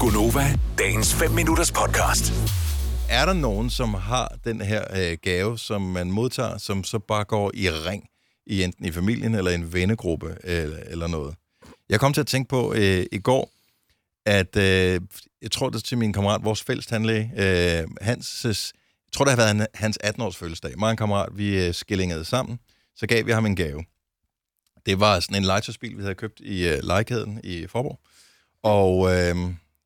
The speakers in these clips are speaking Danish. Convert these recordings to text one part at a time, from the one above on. Gunova, dagens 5 minutters podcast. Er der nogen, som har den her øh, gave, som man modtager, som så bare går i ring, i enten i familien eller en vennegruppe eller, eller noget? Jeg kom til at tænke på øh, i går, at øh, jeg tror det er til min kammerat, vores fælles tandlæge, øh, hans, øh, jeg tror det har været han- hans 18-års fødselsdag. Mig og en kammerat, vi øh, skillingede sammen, så gav vi ham en gave. Det var sådan en legetøjsbil, vi havde købt i øh, legekæden i Forborg. Og øh,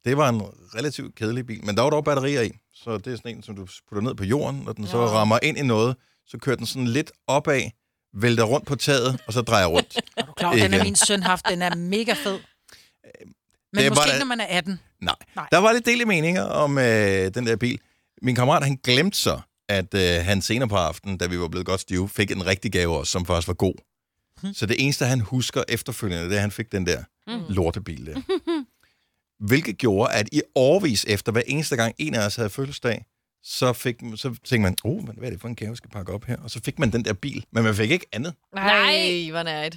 det var en relativt kedelig bil, men der var dog batterier i. Så det er sådan en, som du putter ned på jorden, og den så rammer ind i noget, så kører den sådan lidt opad, vælter rundt på taget, og så drejer rundt. Er du klar? over, Den Ikke. er min søn haft. Den er mega fed. Men Øh, det er måske bare- Mm, ikke, når man er 18. Nej. Nej. Nej. Der var lidt delte meninger om øh, den der bil. Min kammerat, han glemte så, at øh, han senere på aftenen, da vi var blevet godt stive, fik en rigtig gave også, som faktisk var god. Så det eneste, han husker efterfølgende, det er, at han fik den der lortebil der. Hvilket gjorde, at i årvis efter, hver eneste gang en af os havde fødselsdag, så, fik, så tænkte man, oh, hvad er det for en gave, jeg skal pakke op her? Og så fik man den der bil, men man fik ikke andet. Nej, hvor nært.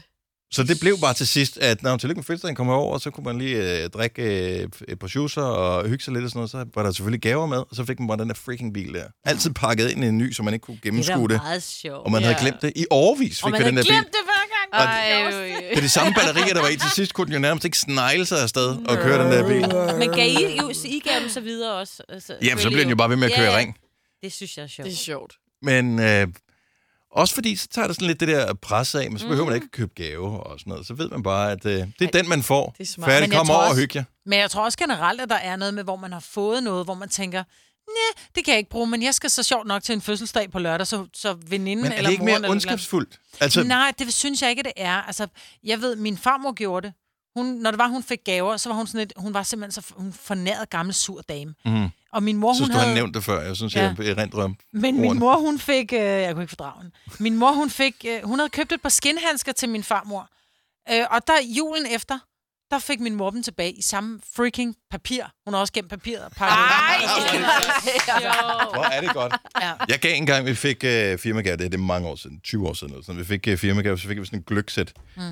Så det blev bare til sidst, at når tillykke med fødselsdagen kom over, så kunne man lige øh, drikke øh, et par juicer og hygge sig lidt og sådan noget. Så var der selvfølgelig gaver med, og så fik man bare den der freaking bil der. Altid pakket ind i en ny, så man ikke kunne gennemskue det. meget sjovt. Og man havde Ja. glemt det. I årvis fik og man vi den havde der bil. glemt det hver gang. Og- Ej, øj, Det er de samme batterier, der var i til sidst, kunne den jo nærmest ikke snegle sig afsted og køre den der bil. Men gav I, jo, så I gav dem så videre også. øh, Altså, Jamen, så blev den jo bare ved med at køre i Ja. ring. Det synes jeg er sjovt. det er sjovt. Men øh, også fordi, så tager det sådan lidt det der pres af, men så behøver man ikke at købe gave og sådan noget. Så ved man bare, at øh, det er den, man får. det er smart. Færdig, Men jeg kom tror over og også- hygge jer. Men jeg tror også generelt, at der er noget med, hvor man har fået noget, hvor man tænker, nej, det kan jeg ikke bruge, men jeg skal så sjovt nok til en fødselsdag på lørdag, så, så veninden Men er eller det ikke moren mere eller et eller andet- ondskabsfuldt? Altså, Nej, det synes jeg ikke, det er. Altså, jeg ved, min farmor gjorde det. Hun, når det var, hun fik gaver, så var hun sådan lidt, hun var simpelthen så hun fornæret gammel sur dame. Mm. Og min mor, Jeg synes, hun Mhm. du har havde... nævnt det før. Jeg synes, Ja. jeg erindrer om Men ordene. min mor, hun fik... Øh, jeg kunne ikke fordrage hende. Min mor, hun fik... Øh, hun havde købt et par skinhandsker til min farmor. Øh, og der julen efter, der fik min mor dem tilbage i samme freaking papir. Hun har også gemt papiret. og pakket det. sjovt. Hvor er det godt. Ja. Jeg gav engang, vi fik øh, firmagave, det er det er mange år siden, 20 år siden, eller sådan. vi fik øh, firmagave, så fik vi sådan en gløgsæt. Mm.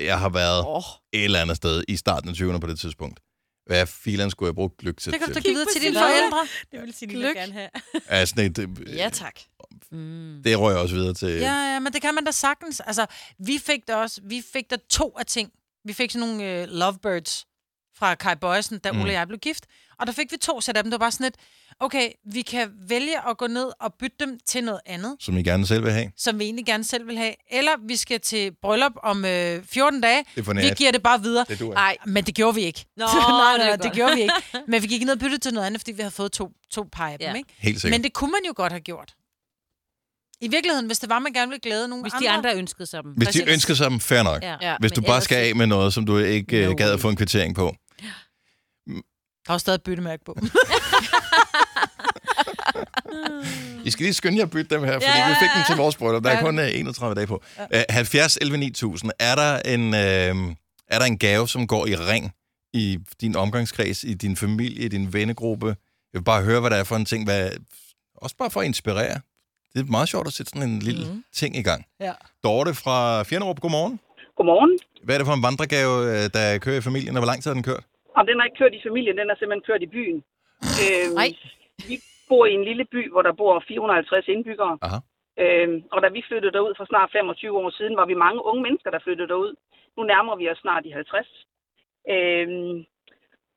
Jeg har været oh. et eller andet sted i starten af 20'erne på det tidspunkt. Hvad filan skulle jeg bruge gløgsæt Det kan du da til? give videre til Kig på dine sin forældre. Det vil sige, Gløgg. gerne have. Ja, sådan et, det, Ja, tak. det røg jeg også videre til. Ja, ja, men det kan man da sagtens. Altså, vi fik da også... Vi fik da to af ting. Vi fik sådan nogle øh, lovebirds fra Kai Bøjsen, da Ole og jeg blev gift. Og der fik vi to sæt af dem. Det var bare sådan et, okay, vi kan vælge at gå ned og bytte dem til noget andet. Som I gerne selv vil have. som vi egentlig gerne selv vil have, eller vi skal til bryllup om øh, 14 dage. Det er for vi nært. giver det bare videre. Det duer. Nej, men det gjorde vi ikke. Nå, nej, det er nej, det, godt. gjorde vi ikke. Men vi gik ned og byttede til noget andet, fordi vi havde fået to, to par af dem, Ja. ikke? Helt sikkert. Men det kunne man jo godt have gjort. I virkeligheden, hvis det var, man gerne ville glæde nogle Hvis andre. de andre ønskede sig dem. Hvis de præcis. ønsker sig dem, fair nok. Ja. Hvis men du bare ellers- skal af med noget, som du ikke No øh, gad way. at få en kvittering på. Der var stadig et byttemærke på. I skal lige skynde jer at bytte dem her, fordi Ja, ja, ja, vi fik ja. dem til vores bryllup. Der er Ja. kun øh, 31 dage på. Ja. 70 11 9000. Er der, en, øh, er der en gave, som går i ring i din omgangskreds, i din familie, i din vennegruppe? Jeg vil bare høre, hvad der er for en ting. Hvad, også bare for at inspirere. Det er meget sjovt at sætte sådan en lille mm. ting i gang. Ja. Dorte fra Fjernerup, godmorgen. Godmorgen. Hvad er det for en vandregave, øh, der kører i familien, og hvor lang tid har den kørt? Om den er ikke kørt i familien, den er simpelthen kørt i byen. Øhm, Nej. Vi bor i en lille by, hvor der bor 450 indbyggere. Aha. Øhm, og da vi flyttede derud for snart 25 år siden, var vi mange unge mennesker, der flyttede derud. Nu nærmer vi os snart de 50. Øhm,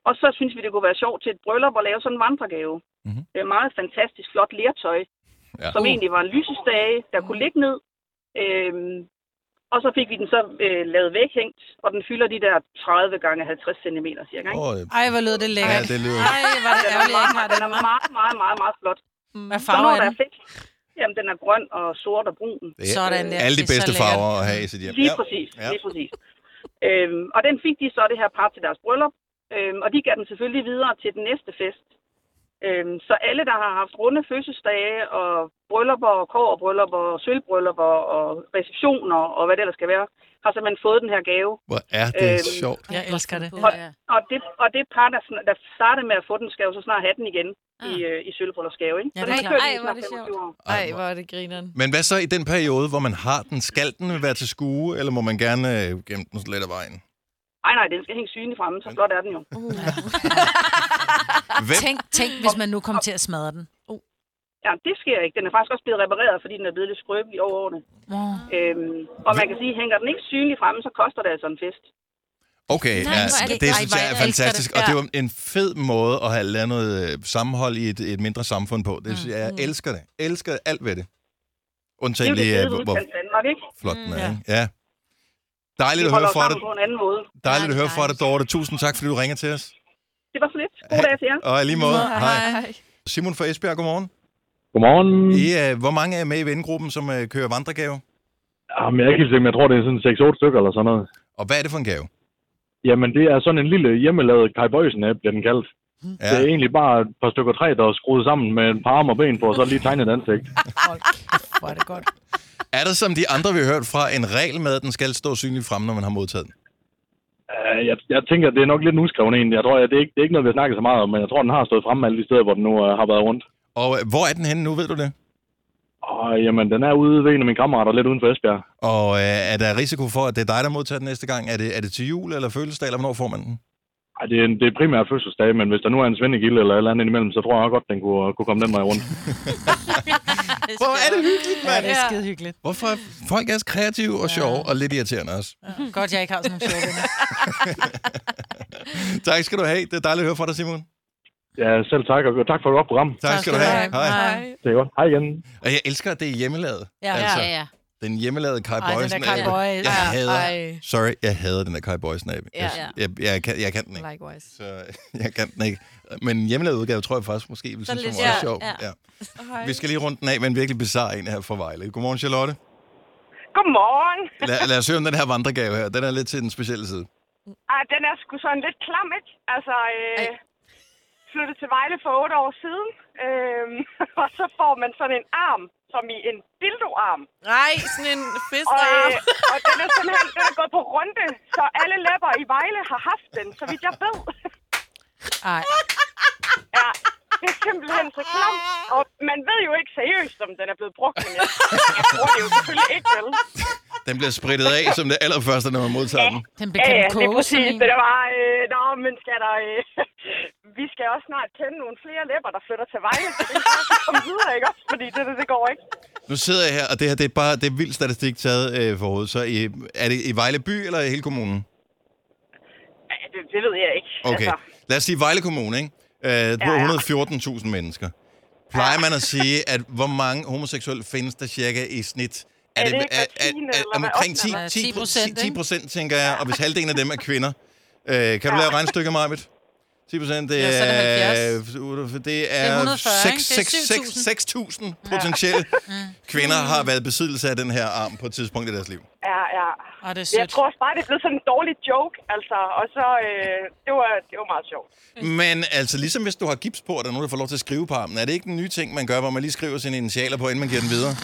og så synes vi, det kunne være sjovt til et bryllup at lave sådan en vandregave. Mhm. Det er meget fantastisk flot lertøj, Ja. Uh. som egentlig var en lysestage, der kunne ligge ned. Øhm, og så fik vi den så øh, lavet væghængt, og den fylder de der 30 gange 50 cm cirka. Ikke? Åh, øh, Ej, hvor lød det ja, lækkert. det lyder... Ej, hvor er det Den er ærgerligt, jeg meget, ikke har det. den er meget, meget, meget, meget flot. Hvad Så når farve der er er den? fedt, jamen den er grøn og sort og brun. Det er Sådan der. alle de Det er så bedste lækkert. farver at have i sit hjem. Lige præcis, Ja. lige præcis. Øhm, og den fik de så det her par til deres bryllup, øhm, og de gav den selvfølgelig videre til den næste fest. Øhm, så alle, der har haft runde fødselsdage og bryllupper og kårbryllupper og sølvbryllupper og receptioner og hvad det ellers skal være, har simpelthen fået den her gave. Hvor er det Øhm, sjovt. Jeg elsker det. Åh, ja. Og det, og det par, der, sn- der startede med at få den, skal jo så snart have den igen ah. i, øh, i sølvbryllupsgave, ikke? Ja, så det er den har klart. kørt Ej, i hvor er snart det sjovt. 25 år. Ej, hvor er det grineren. Men hvad så i den periode, hvor man har den? Skal den være til skue, eller må man gerne øh, gemme den lidt af vejen? Nej, nej, den skal hænge synlig fremme, så flot er den jo. Hvem? Tænk, tænk, hvis man nu kom til at smadre den. Oh. Ja, det sker ikke. Den er faktisk også blevet repareret, fordi den er blevet lidt skrøbelig over årene. Wow. Øhm, og man kan sige, hænger den ikke synlig fremme, så koster det altså en fest. Okay, Nej, ja, hvor er det, det- det Ej, synes hvor jeg er jeg elsker fantastisk. det. Og det Ja. var en fed måde at have lavet noget øh, sammenhold i et, et mindre samfund på. Det synes jeg, jeg elsker det. Elsker alt ved det. Det er Undtagen jo det lige, øh, fede hvor, ved hvor udkants Danmark, ikke? flot den er. ja. Ikke? Ja. Dejligt Vi at holder høre os fra dig. sammen på en anden måde. Dejligt at Dejligt, høre fra dig, Dorte. Tusind tak, fordi du ringer til os. Det var så lidt. God dag til jer. Og i lige måde, hej. Hej. Simon fra Esbjerg, godmorgen. Godmorgen. I, øh, hvor mange er med i vennegruppen, som øh, kører vandregave? Jamen, jeg er ikke helt sikker, Ah, men jeg tror, det er sådan 6-8 stykker eller sådan noget. Og hvad er det for en gave? Jamen, det er sådan en lille hjemmelavet Kai Bøjsen-app, bliver den kaldt. Ja. Det er egentlig bare et par stykker træ, der er skruet sammen med et par arme og ben på, og så lige tegnet et ansigt. Hvor er det godt. Er der, som de andre, vi har hørt fra, en regel med, at den skal stå synligt frem, når man har modtaget den? Øh, jeg, jeg tænker, det er nok lidt en uskreven en. Jeg tror, at det, er ikke, det er ikke noget, vi har snakket så meget om, men jeg tror, den har stået fremme alle de steder, hvor den nu øh, har været rundt. Og øh, hvor er den henne nu, ved du det? Og jamen, den er ude ved en af mine kammerater, lidt uden for Esbjerg. Og øh, er der risiko for, at det er dig, der modtager den næste gang? Er det, er det til jul eller fødselsdag, eller hvornår får man den? Ej, det, er, det er primært fødselsdag, men hvis der nu er en svendegilde eller et eller andet imellem, så tror jeg godt, den kunne, kunne komme den vej rundt. Hvor er det hyggeligt, Ja, mand! det er skide hyggeligt. Hvorfor er folk er så kreative og sjove, og lidt irriterende også. Godt, jeg ikke har sådan nogle sjove venner. Tak skal du have. Det er dejligt at høre fra dig, Simon. Ja, selv tak, og tak for et godt program. Tak, tak skal du have. Hej. Hej. Det er godt. Hej igen. Og jeg elsker, at det er hjemmelavet. Ja. altså, Ja, ja. Den hjemmelavede Kai Ej, den Bøjsen. der Kai app. Boys. Jeg hader. Ej. Sorry, jeg hader den der Kai Bøjsen. app. Ja. Jeg, jeg, jeg, kan, jeg kan den ikke. Likewise. Så jeg kan den ikke. Men en hjemmelavet udgave tror jeg faktisk måske vil Så synes, lidt, det var ja, sjov. ja. Ja. Vi skal lige runde den af med en virkelig bizarre en her fra Vejle. Godmorgen, Charlotte. Godmorgen. Lad, lad os høre om den her vandregave her. Den er lidt til den specielle side. Ah, den er sgu sådan lidt klam, ikke? Altså, øh, Ej. flyttede til Vejle for otte år siden, øh, og så får man sådan en arm, som i en dildoarm. Nej, sådan en Og, fiskearm. øh, og den er simpelthen den er gået på runde, så alle læpper i Vejle har haft den, så vidt jeg ved. Ej. Ja, det er simpelthen så klamt. Og man ved jo ikke seriøst, om den er blevet brugt, men jeg, jeg bruger det jo selvfølgelig ikke, vel? Den bliver spritet af som det allerførste, når man modtager den. Den Ja, bekendt ja, det er koge, sådan præcis. en. Det der var, øh, nå, men skal der, øh, vi skal også snart tænde nogle flere læpper, der flytter til Vejle, så det kan vi komme videre, ikke også? Fordi det, det, det går ikke. Nu sidder jeg her, og det her det er bare det er vild statistik taget øh, for hovedet. Så i, er det i Vejle by eller i hele kommunen? Ja, det, det ved jeg ikke. Okay. Lad os sige Vejle Kommune, ikke? Øh, på Altså. Ja, ja. 114.000 mennesker. Plejer man at sige, at hvor mange homoseksuelle findes der cirka i snit? Er det ikke hver tiende, eller hvad? omkring 10, Ottende, 10, 10, eller? 10%, 10 ikke? procent, tænker jeg, og hvis halvdelen af dem er kvinder. Øh, kan du lave regnstykket, Marvitt? 10 procent, det er... Ja, så er det 70. øh, Det er er 140, ikke? Det er 7.000. 6.000 potentielle Mm. kvinder har været i besiddelse af den her arm på et tidspunkt i deres liv. Ja, ja. Åh, det er Jeg sødt. tror også bare, det er blevet sådan en dårlig joke, altså. Og så, øh, det, var, det var meget sjovt. Men altså, ligesom hvis du har gips på, og der er nogen, der får lov til at skrive på armen, er det ikke den nye ting, man gør, hvor man lige skriver sine initialer på, inden man giver den videre?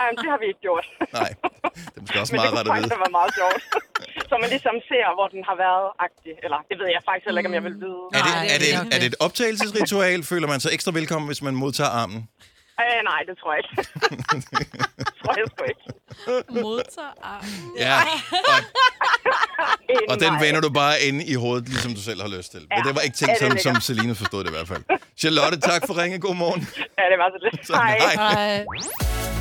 Jamen, det har vi ikke gjort. Nej, det er måske også Men det meget rart kunne at faktisk vide. have været meget sjovt. så man ligesom ser, hvor den har været agtig. Eller, det ved jeg faktisk heller ikke, om jeg vil vide. Er Nej, det, er, det er det, nok er det et optagelsesritual? Føler man sig ekstra velkommen, hvis man modtager armen? Øh, nej, det tror jeg ikke. tror jeg sgu ikke. Modtager armen. Ja, og, Øh, og den nej. vender du bare ind i hovedet, ligesom du selv har lyst til. Men det var ikke Ja, tænkt det er sådan, som lækkert. Selina forstod det i hvert fald. Charlotte, tak for ringe. God morgen. Ja, det var så lidt. Så, hej. Ej.